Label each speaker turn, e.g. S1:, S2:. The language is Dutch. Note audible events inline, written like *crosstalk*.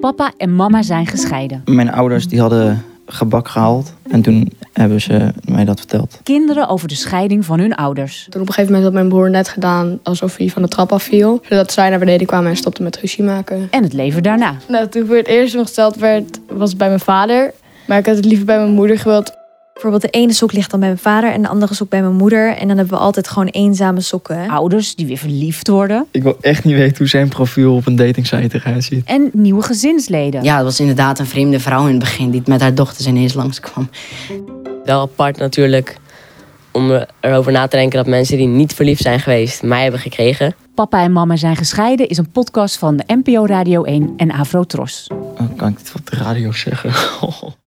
S1: Papa en mama zijn gescheiden.
S2: Mijn ouders die hadden gebak gehaald. En toen hebben ze mij dat verteld.
S1: Kinderen over de scheiding van hun ouders.
S3: Toen op een gegeven moment had mijn broer net gedaan alsof hij van de trap afviel. Zodat zij naar beneden kwamen en stopte met ruzie maken.
S1: En het leven daarna.
S4: Nou, toen voor het eerst ongesteld werd, was het bij mijn vader. Maar ik had het liever bij mijn moeder gewild.
S5: Bijvoorbeeld de ene sok ligt dan bij mijn vader en de andere sok bij mijn moeder. En dan hebben we altijd gewoon eenzame sokken.
S1: Ouders die weer verliefd worden.
S2: Ik wil echt niet weten hoe zijn profiel op een datingsite eruit ziet.
S1: En nieuwe gezinsleden.
S6: Ja, het was inderdaad een vreemde vrouw in het begin die met haar dochters ineens langskwam.
S7: Wel apart natuurlijk om erover na te denken dat mensen die niet verliefd zijn geweest mij hebben gekregen.
S1: Papa en mama zijn gescheiden is een podcast van de NPO Radio 1 en Afro Tros.
S2: *laughs* Oh, kan ik dit op de radio zeggen?